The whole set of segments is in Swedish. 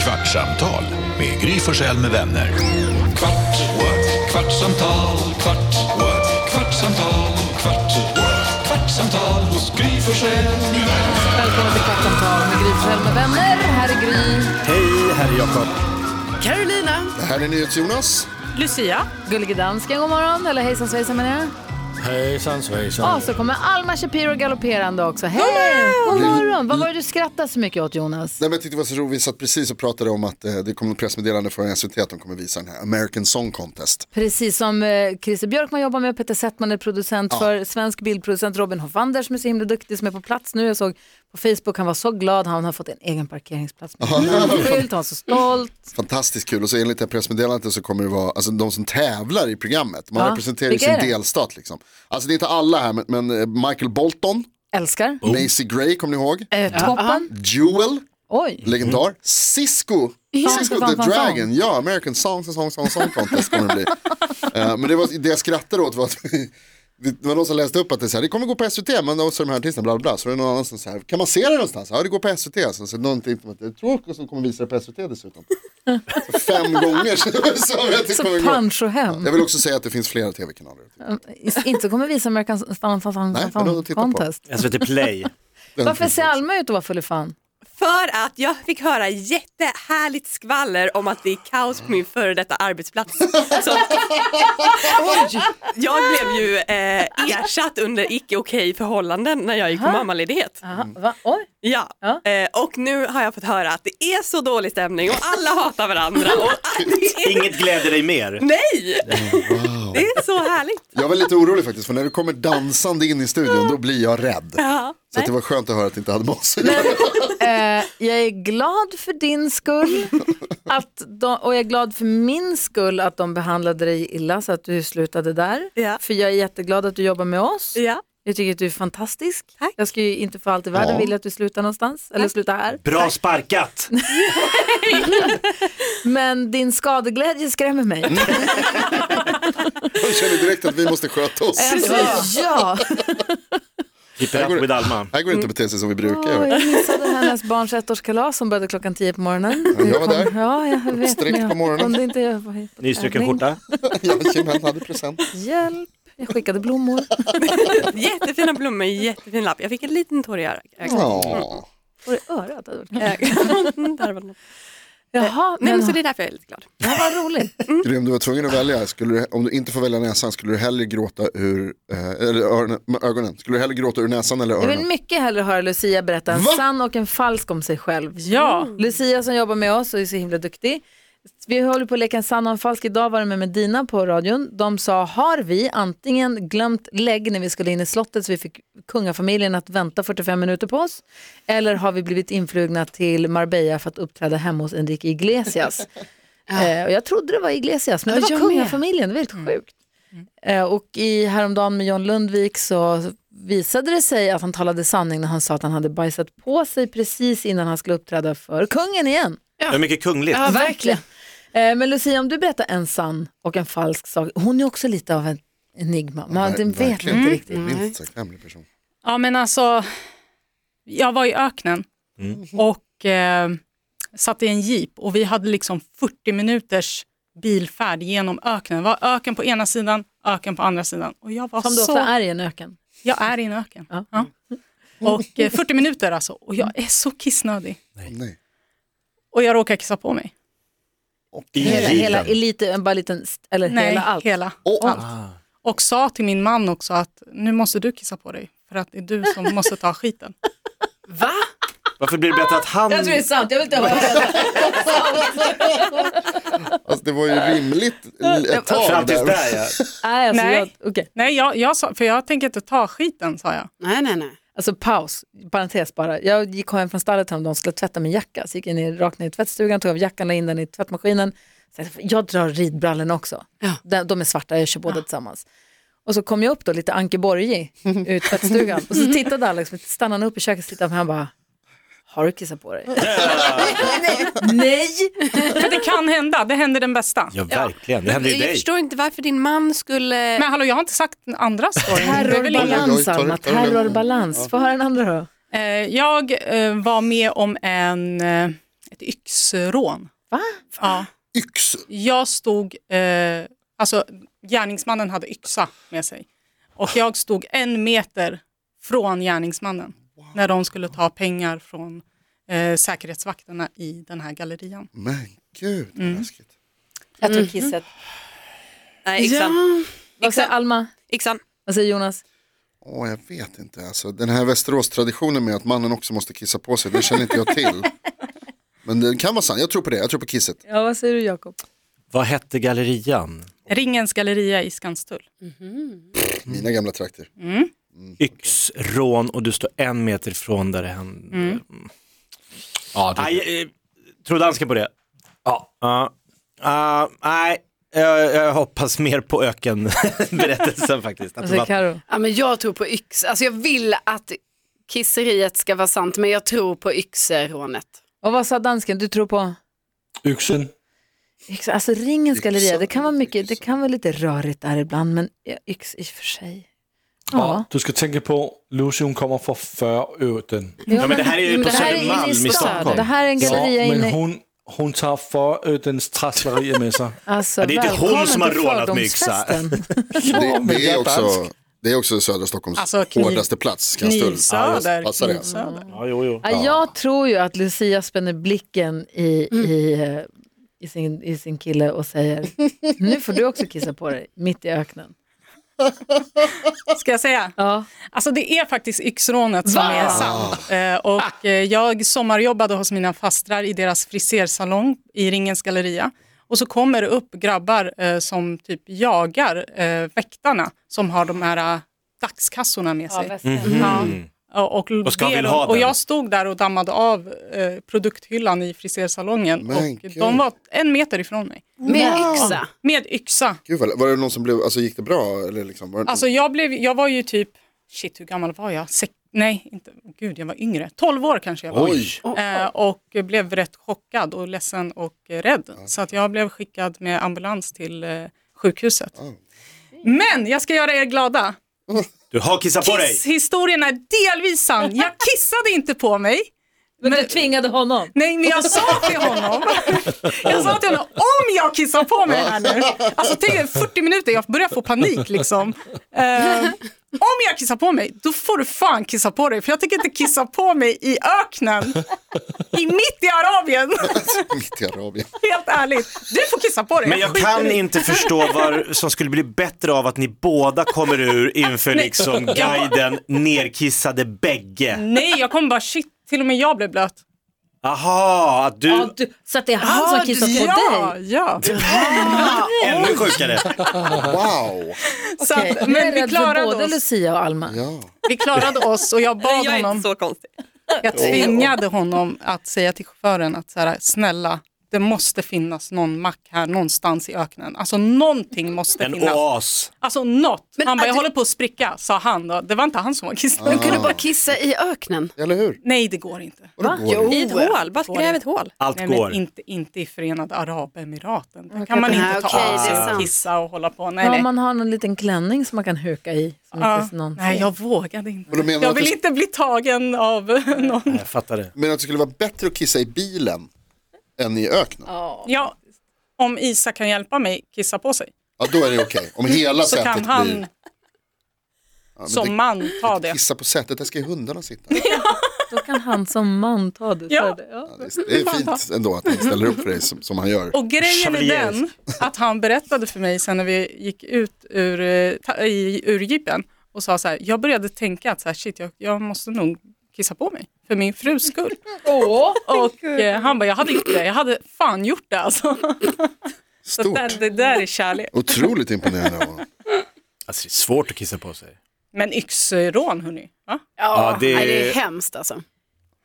Kvartsamtal med Gry Forssell med vänner. Kvart, what? kvartsamtal, kvart, what? kvartsamtal, kvart, what? kvartsamtal hos Gry Forssell med vänner. Välkommen till Kvartsamtal med Gry Forssell med vänner. Här är Gry. Hej, här är Jakob. Carolina. Det här är NyhetsJonas. Lucia. Gullige dansken, god morgon. Eller hejsan svejsan menar jag. Hejsan svejsan. Och så kommer Alma Shapiro galopperande också. Hej! God morgon! Vad var det du skrattade så mycket åt Jonas? Nej, men jag tyckte det var så roligt, vi satt precis och pratade om att eh, det kommer ett pressmeddelande från SVT att de kommer visa den här American Song Contest. Precis som eh, Christer Björkman jobbar med, Peter Settman är producent för svensk bildproducent Robin Hoffander som är så himla duktig som är på plats nu. Jag såg på Facebook, han var så glad, han har fått en egen parkeringsplats med en skylt, han var så stolt. Fantastiskt kul och så enligt det här pressmeddelandet så kommer det vara alltså, de som tävlar i programmet. Man Ja, representerar ju vilka sin är det? delstat liksom. Alltså det är inte alla här men, men eh, Michael Bolton, Älskar. Macy Gray kommer ni ihåg? Eh, toppen. Jewel, Oj. legendar. Cisco, Cisco Fan, fan, the fan. Dragon, ja American Song Song Song Song Contest kommer det bli. Eh, men det, var, det jag skrattade åt var att Det var någon som läste upp att det, är så här, det kommer gå på SVT, men då så de här artisterna, bla bla bla. Så det är någon annan som så här, kan man se det någonstans? Ja, det går på SVT. alltså." Så, så någonting som att det är tråkigt som kommer visa det på SVT dessutom. Så fem gånger som jag tycker Så kommer gå. punch och hem. Jag vill också säga att det finns flera tv-kanaler. Inte kommer visa American Song Nej, men då tittar på. Contest. SVT Play. Den Varför finns ser också. Alma ut att vara full i fan? För att jag fick höra jättehärligt skvaller om att det är kaos på min före detta arbetsplats. Så jag blev ju eh, ersatt under icke okej förhållanden när jag gick på mammaledighet. Aha, Mm. va? Oj. Ja. Ja. Eh, och nu har jag fått höra att det är så dålig stämning och alla hatar varandra. Och, det är, Inget gläder dig mer. nej! Det är så härligt. Jag var lite orolig faktiskt, för när du kommer dansande in i studion, då blir jag rädd. Ja. Så att det var skönt att höra att det inte hade med oss att göra. Eh, jag är glad för din skull att de, och jag är glad för min skull att de behandlade dig illa så att du slutade där. Ja. För jag är jätteglad att du jobbar med oss. Ja. Jag tycker att du är fantastisk. Tack. Jag skulle ju inte för allt i världen Ja. vilja att du slutar någonstans eller slutar här. Bra sparkat. Men din skadeglädje skrämmer mig. Jag känner direkt att vi måste sköta oss. Alltså, ja. Keep it up with Alma. Här går det inte att bete sig som vi brukar Åh, göra. jag missade hennes barns ettårskalas som började klockan tio på morgonen. jag var där. Ja, jag vet. Uppsträckt men jag- på morgonen. Om det inte jag var på Nystruken tävling. skjorta. Jajamän, hade present. Hjälp, jag skickade blommor. Jättefina blommor, jättefin lapp. Jag fick en liten tår i ögat. Ja. Var det örat? hade varit kul. Mm, där var det något. Jaha, Nej, men, men så det är därför jag är lite glad. det här var roligt. Grym, du var tvungen att välja. Skulle du, om du inte får välja näsan, skulle du hellre gråta ur eh, eller öronen, med ögonen? Skulle du hellre gråta ur näsan eller Jag vill öronen? mycket hellre höra Lucia berätta en Va? sann och en falsk om sig själv. Ja. Lucia som jobbar med oss och är så himla duktig. Vi håller på att leka en sann och en falsk. Idag var de med Medina på radion. De sa, har vi antingen glömt lägg när vi skulle in i slottet så vi fick kungafamiljen att vänta 45 minuter på oss? Eller har vi blivit influgna till Marbella för att uppträda hemma hos Enrique Iglesias? eh, och jag trodde det var Iglesias, men Ja, det var jag med. Mm. kungafamiljen. Det var helt sjukt. Eh, Och i häromdagen med John Lundvik så visade det sig att han talade sanning när han sa att han hade bajsat på sig precis innan han skulle uppträda för kungen igen. Det är mycket kungligt. Ja, Verkligen. Eh, Men Lucia, om du berättar en sann och en falsk sak, hon är också lite av en enigma, man Ver- den vet verkligen. Mm. inte riktigt. Minst sagt hemlig person. Ja men alltså, jag var i öknen och eh, satt i en jeep och vi hade liksom 40 minuters bilfärd genom öknen. Det var öken på ena sidan, öken på andra sidan. Och jag var Som du så... ofta är i en öken. Jag är i en öken. Ja. Ja. Och eh, 40 minuter alltså, och jag är så kissnödig. Nej. Och jag råkar kissa på mig. I Hela, hela, Riven. lite, en bara liten, st- eller Nej, hela allt. Och Och sa till min man också att nu måste du kissa på dig, för att det är du som måste ta skiten. Va? Varför blir det bättre att han... Jag tror det är sant, jag vill inte höra det. alltså, det var ju rimligt Mm. l- ett Fram tag tills där. där ja. Nej, alltså, Nej. Jag, okej. Nej, jag, jag sa, för jag tänker inte ta skiten, sa jag. Nej, nej, nej. Alltså paus, parentes bara. Jag gick hem från stallet häromdagen och skulle tvätta min jacka. Så gick jag ner, rakt ner i tvättstugan, tog av jackan, la in den i tvättmaskinen. Sen, jag drar ridbrallorna också. De, de är svarta, jag kör båda tillsammans. Och så kom jag upp då lite Anke Borgi ur tvättstugan. Och så tittade Alex, stannade han upp i köket och tittade på mig. Han bara, har du kissat på dig? Nej! För det kan hända, det händer den bästa. Ja, verkligen. Det händer ju Jag dig. förstår inte varför din man skulle... Men hallå, jag har inte sagt den andra storyn. Det är väl ingen- Oj, Terrorbalans, oj, tar du- Alma. tar du den? Terrorbalans. Få höra den andra då. Eh, Jag eh, var med om en, eh, ett yxrån Ja. Yxor. Jag stod, eh, alltså gärningsmannen hade yxa med sig och jag stod en meter från gärningsmannen när de skulle ta pengar från eh, säkerhetsvakterna i den här gallerian. Men gud, vad Mm. läskigt. Jag tror kisset. Nej, yxan. Vad säger Alma? Yxan. Vad säger Jonas? Åh, jag vet inte. Alltså, den här Västerås-traditionen med att mannen också måste kissa på sig, det känner inte jag till. Men den kan vara sann, jag tror på det, jag tror på kisset. Ja, vad säger du Jakob? Vad hette gallerian? Ringens galleria i Skanstull. Mm. Mina gamla trakter. Yxrån och du står en meter ifrån där det hände. Ja, det, Mm. Nej, eh, tror dansken på det? Ja. Ja. Ah, nej, jag, jag hoppas mer på ökenberättelsen faktiskt. Att Vad det säger var- Karo? Ja, men jag tror på yx. Alltså jag vill att kisseriet ska vara sant, men jag tror på yxerånet. Och vad sa dansken? Du tror på? yxen. Yxa. Alltså ringens Yxa. galleria, det kan vara mycket, det kan vara lite rörigt där ibland, men ja, yx i och för sig. Ja. Du ska tänka på, Lucy hon kommer från Föröden. Ja, men det här är ju men på det här är Södermalm inne i stan. i Stockholm. Det här är en galleria men inne i... hon, hon tar Förödens trasslerier med sig. Alltså, Ja, det är inte hon välkommen som har till rånat med yxa. fördomsfesten. Det, men det, jag är är också, dansk. det är också södra Stockholms Alltså, kniv- hårdaste plats, Skanstull. Knivsöder. passar det. alltså. knivsöder. Ja, jo, jo. Ja, jag tror ju att Lucia spänner blicken i, i, eh, i, sin, i sin kille och säger nu får du också kissa på dig, mitt i öknen. Ska jag säga? Ja. Alltså det är faktiskt yxrånet som är sant. Eh, Ah. och eh, jag sommarjobbade hos mina fastrar i deras frisersalong i Ringens galleria. Och så kommer det upp grabbar eh, som typ jagar eh, väktarna som har de här eh, dagskassorna med sig. Mm. Mhm. Ja, och, Mm. Och ska det- vill ha och den. jag stod där och dammade av eh, produkthyllan i frisersalongen Men och gud. de var en meter ifrån mig. Med yxa. Med yxa. Gud, vad- var det någon som blev, alltså gick det bra? Eller liksom, var det, Alltså jag, blev, jag var ju typ, shit hur gammal var jag? Sex, nej, inte, gud jag var yngre. 12 år kanske jag var. Oj, Eh, och blev rätt chockad och ledsen och eh, rädd. Så att jag blev skickad med ambulans till eh, sjukhuset. Men jag ska göra er glada. Du har kissat på dig. Kisshistorien är delvis sann. Jag kissade inte på mig. Men du tvingade honom. Nej, men jag sa till honom, jag sa till honom om jag kissar på mig här nu, alltså tänk dig, 40 minuter, jag börjar få panik liksom. Eh, om jag kissar på mig, då får du fan kissa på dig, för jag tänker inte kissa på mig i öknen, i mitt i Arabien, mitt i Arabien. helt ärligt. Du får kissa på dig. Men jag skiter i kan det. inte förstå vad som skulle bli bättre av att ni båda kommer ur inför liksom guiden nerkissade bägge. Nej, jag kommer bara shit, till och med jag blev blöt. Aha, att du, Ja, du, så att det är han som kissar på Ah, ja, dig. Ja, ännu sjukare. Wow! Så Okej, att, nu är jag men vi rädd för klarade, både oss, Lucia och Alma. Ja. vi klarade oss och jag bad Jag är honom inte så konstig. Jag tvingade honom att säga till chauffören att så här, snälla, det måste finnas någon mack här någonstans i öknen. Alltså någonting måste En finnas. oas. Alltså något. Men han bara, att jag du- håller på att spricka, sa han då. Det var inte han som var kissnödig. Du kunde bara kissa i öknen. Ah. Eller hur? Nej, det går inte. Vadå går det? I ett hål, bara gräv ett hål. Allt Nej, går. men inte, inte i Förenade Arabemiraten. Där kan man Nej, inte ta okej, av det är sig och sant. kissa och hålla på. Nej, Ja, nej. man har någon liten klänning som man kan huka i. Som Ja. inte någon nej, ser. jag vågade inte. Och då menar du Jag att vill du- inte bli tagen av någon. Jag fattar det. Men att det skulle vara bättre att kissa i bilen än i öknen? Ja, Ja, om Isa kan hjälpa mig kissa på sig. då är det okej. Om hela så sätet kan han blir... Ja, men som det- man ta det. Kissa på sätet, där ska ju hundarna sitta. Då kan han som man ta det. Ja. Ja. det. Ja. Ja, det är- det är fint ändå att han ställer upp för dig som, som han gör. Och grejen är Chevalier. den att han berättade för mig sen när vi gick ut ur, eh, ta- i, ur jeepen och sa så här, jag började tänka att så här, shit, jag, jag måste nog kissa på mig för min frus skull. och eh, han bara, jag hade gjort det, jag hade fan gjort det alltså. Så Stort. det, det där är kärlek. Otroligt imponerande av honom. Alltså det är svårt att kissa på Alltså, sig. Men yxrån hörni, va? Ja, det är- Nej, det är hemskt alltså.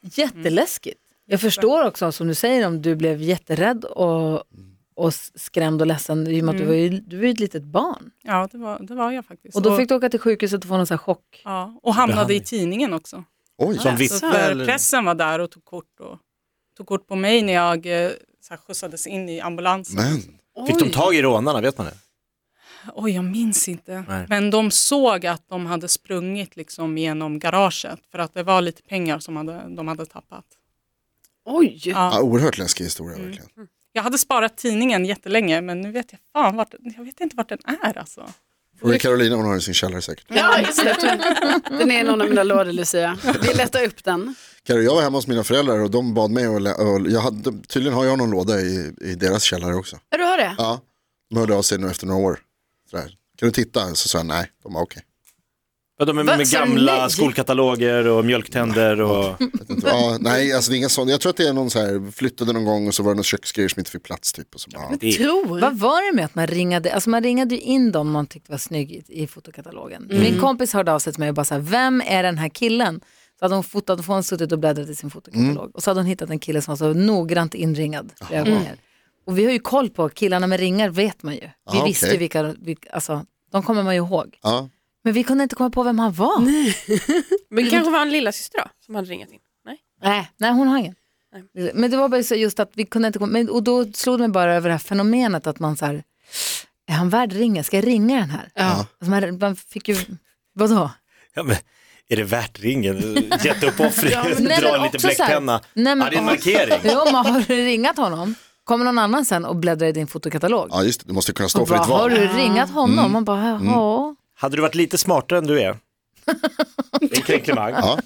Jätteläskigt. Jag Mm. förstår också som du säger om du blev jätterädd och, och s- skrämd och ledsen i och med Mm. att du var, ju, du var ju ett litet barn. Ja, det var, det var jag faktiskt. Och då fick du åka till sjukhuset och få någon sån här chock. ja, och hamnade i tidningen också. Oj, Som Så vittne för eller? pressen var där och tog kort, och, tog kort på mig när jag eh, så här, skjutsades in i ambulansen. men. Fick de tag i rånarna, vet man det? Oj, jag minns inte. Nej. Men de såg att de hade sprungit liksom genom garaget för att det var lite pengar som hade, de hade tappat. Oj. Ja, Ja. Mm. oerhört läskig ah, historia verkligen. Jag hade sparat tidningen jättelänge men nu vet jag fan vart, jag vet inte vart den är alltså. Och det är Carolina, hon har den i sin källare säkert. Ja, just det. Den är i någon av mina lådor, Lucia. Vi letar upp den. Karo, jag var hemma hos mina föräldrar och de bad mig att lä- och jag hade, tydligen har jag någon låda i, i deras källare också. Ja, du har det? Ja, de hörde av sig nu efter några år. Sådär. Kan du titta? Så sa jag nej, de var okej. Ja, de är med, Vad sa du gamla nej? skolkataloger och mjölktänder och... Vet inte. Ja, nej, alltså det är inga sådana. Jag tror att det är någon så här, flyttade någon gång och så var det någon köksgrejer som inte fick plats typ. Och så bara, Det är Tror. Vad var det med att man ringade, alltså man ringade ju in dem man tyckte var snygg i, i fotokatalogen. Min kompis hörde av sig till mig och bara så här, vem är den här killen? Så hade hon fotat, för hon suttit och bläddrat i sin fotokatalog. Och så hade hon hittat en kille som var så noggrant inringad flera gånger. Och vi har ju koll på, killarna med ringar vet man ju. Vi Ja, visste ju okej. vilka, vilka, alltså de kommer man ju ihåg. ja. Men vi kunde inte komma på vem han var. Nej, Men kanske var en lilla syster då, som hade ringat in. Nej. nej, hon har ingen. Men det var bara så just att vi kunde inte komma, men, och då slog det mig bara över det här fenomenet att man så här, är han värd ringen? Ska jag ringa den här? Ja. Alltså man, man fick ju, vadå? Ja, men, är det värt ringen? Jätteuppoffring, men dra en liten också så här- bläckpenna. Nej, men ja, det är om- en markering. Jo, men har du ringat honom? Kommer någon annan sen och bläddrar i din fotokatalog? ja, just det. Du måste kunna stå och för bara, ditt har val. du ringat honom? Mm. Man bara, ja. Hade du varit lite smartare än du är, en kränklimang, Ja.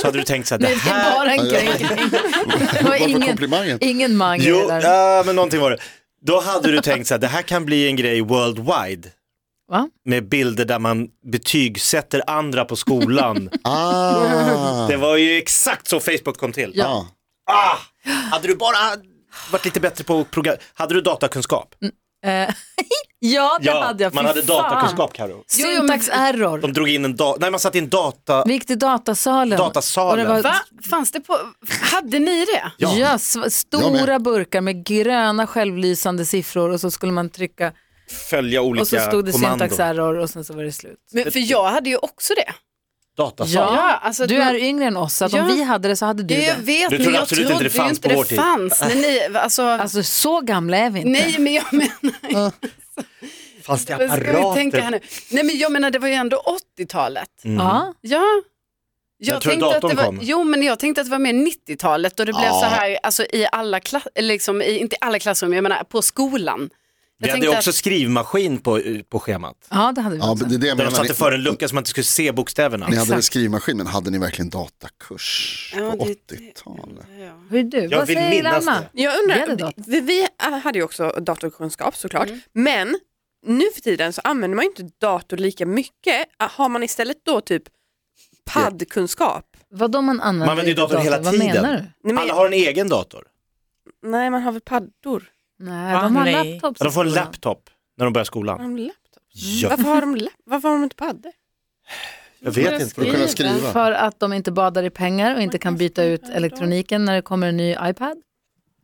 så hade du tänkt så här, det Det är här... bara en Ja, ja. kränkning. Det Varför var ingen, komplimangen? ingen mang i det Jo, där. ja, men någonting var det. Då hade du tänkt så här, det här kan bli en grej worldwide. Va? Med bilder där man betygsätter andra på skolan. Ah. Det var ju exakt så Facebook kom till. Ja. Ja. Ah! Hade du bara varit lite bättre på program... Hade du datakunskap? Eh, ja, det hade jag. man Fy hade fan. datakunskap Karo. Jo, jo, men- Syntax error. De drog in en da- nej man satte in data, Vi gick till datasalen. Datasalen. Och det var- Va? Fanns det på... Hade ni det? Ja, Ja. sv- stora burkar med gröna självlysande siffror och så skulle man trycka följa olika och så stod det kommandon. syntax error och sen så var det slut. Men, för jag hade ju också det. Datasal. Ja, alltså att du man- är yngre än oss, så att om Ja. vi hade det så hade du Ja, jag det. vet, Du men trodde jag absolut inte det trodde ju fanns inte på det vår tid. fanns. När ni, alltså, Alltså så gamla är vi inte. nej, men jag menar... Fanns det Vad Ska vi tänka här apparater? nu? Nej, men jag menar, det var ju ändå 80-talet. Mm. Ja. Ja. Jag tror datorn att det var, kom. Jo, men jag tänkte att det var mer 90-talet och det blev Ja. så här, alltså i alla klass, eller liksom, i, inte i alla klassrum, jag menar på skolan. Jag Vi hade tänkte också att, skrivmaskin på, på schemat. ja, det hade vi ja, också. men det är det jag Där de menar. satte för en Ni, lucka så man inte skulle se bokstäverna. ni hade Exakt. en skrivmaskin, men hade ni verkligen datakurs Ja, på det- 80-talet? Hur är du? Jag Vad vill säger minnas Anna? det. Jag Vi hade undrar, dator. vi, vi hade ju också datorkunskap såklart, Mm. men nu för tiden så använder man ju inte dator lika mycket. Ah, Har man istället då typ paddkunskap? Vad de man använder Man använder ju i datorn hela Vad menar du? tiden. Nej, men- Alla har en egen dator. Nej, man har väl paddor? Nej, Ah, de har Nej. laptops. Ja, De får en i skolan. laptop när de börjar Har skolan. de laptop? Ja, Varför, har de la- Varför har de inte paddor? jag vet inte. För att kunna skriva. För att de inte badar i pengar och inte kan byta ut elektroniken när det kommer en ny iPad.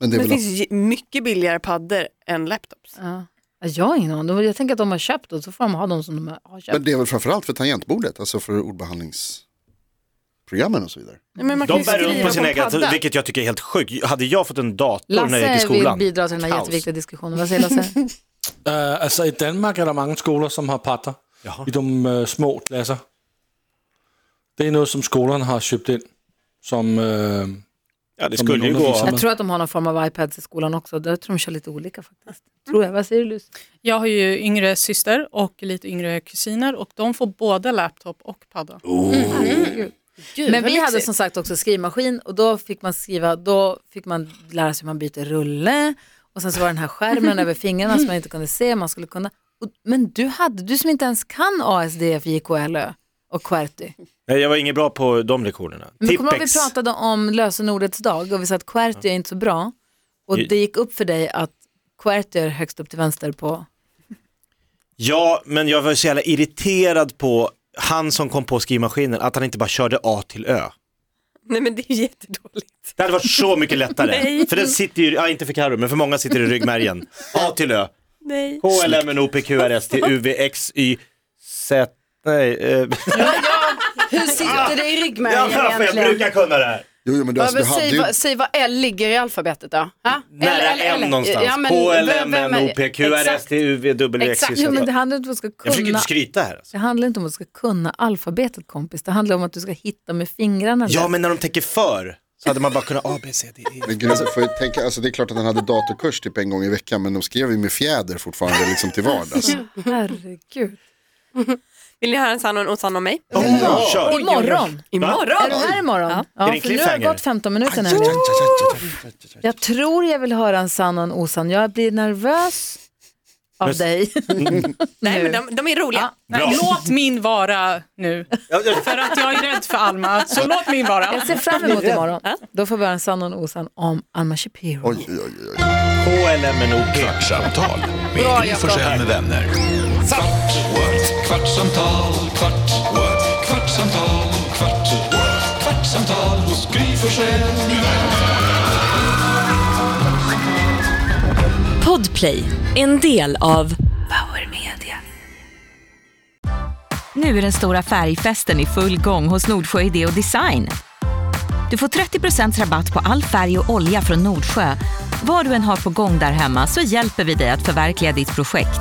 Men det är väl Det finns ju mycket billigare paddor än laptops. Ja. Ja, Jag har ingen aning. Jag tänker att de har köpt och så får de ha dem som de har köpt. Men det är väl framförallt för tangentbordet, alltså för ordbehandlingsprogrammen och så vidare. Nej, Men man kan De ju bär runt skriva på alltså, sin en egen, padda. vilket jag tycker är helt sjukt. Hade jag fått en dator när jag gick i Lasse vill skolan, bidra till den här kaos. jätteviktiga diskussionen. Vad säger Lasse? Uh, altså i Danmark er der mange skoler, som har patter i de øh, små klasser. Det er noget, som skolerne har købt ind, som øh, ja, det som skulle ju en gå. undervisare. Jag tror att de har någon form av iPads i skolan också. Jag tror de kör lite olika faktiskt. Mm. Tror jag. Vad säger du Lucy? Jag har ju yngre syster och lite yngre kusiner och de får både laptop och padda. Mm, gud, Men vad vi hade lyxigt. som sagt också skrivmaskin och då fick man skriva, då fick man lära sig hur man byter rulle och sen så var den här skärmen över fingrarna som man inte kunde se, man skulle kunna. Och, men du hade, du som inte ens kan ASDF, JKLÖ och QWERTY. Nej, jag var inget bra på de lektionerna. Men kommer du ihåg Tippex. vi pratade om lösenordets dag och vi sa att QWERTY är inte så bra och Ju- det gick upp för dig att QWERTY är högst upp till vänster på, Ja, men jag var så jävla irriterad på han som kom på skrivmaskinen, att han inte bara körde A till Ö. Nej, men det är ju jättedåligt. Det hade varit så mycket lättare. Nej. för den sitter ju, ja inte för Carro, men för många sitter i ryggmärgen. A till Ö. Nej. K, L, M, N, O, P, Q, R, S, T, U, V, X, Y, Z. Nej, eh, Hur sitter det i ja, ryggmärgen för jag egentligen? brukar kunna det här. Jo, jo men du, Ja, alltså, men du hade säg, ju... vad, säg vad L ligger i alfabetet då. Ha? Nära L, L, L. M någonstans. Ja, men K, L, vem- M, N, vem är O, det? P, Q, R, S, Exakt. T, U, V, W, X, Y, Exakt. Z. jo men det handlar inte om att du ska Jag försöker kunna, inte skryta här. Alltså. det handlar inte om att du ska kunna alfabetet kompis, det handlar om att du ska hitta med fingrarna. Ja, där. men när de tänker för Så hade man bara kunnat A, B, C, D, E. Men gud, får jag tänka, alltså det är klart att han hade datorkurs typ en gång i veckan men de skrev ju med fjäder fortfarande liksom till vardags. Herregud. Vill ni höra en sann och en osann om mig? Ja, kör. Imorgon. Är du Imorgon? här imorgon? Ja, för nu det en har det cliffhanger? gått 15 minuter nämligen. Jag tror jag vill höra en sann och en osann. Jag blir nervös av dig. Nej, Nu. men de, de är roliga. Ja. Bra. Låt min vara nu. För att jag är rädd för Alma, så låt min vara. Jag ser fram emot imorgon. Då får vi höra en sann och en osann om Alma Shapiro. Oj, oj, oj, oj. KLMNOP. Kvartsamtal med Gry Forssell med vänner. Kvart, what? kvartsamtal, kvart, what? kvartsamtal, kvart, what? kvartsamtal hos Gry Forssell med vänner. Podplay, en del av Power Media. Nu är den stora färgfesten i full gång hos Nordsjö Idé och Design. Du får 30 rabatt på all färg och olja från Nordsjö. Vad du än har på gång där hemma så hjälper vi dig att förverkliga ditt projekt.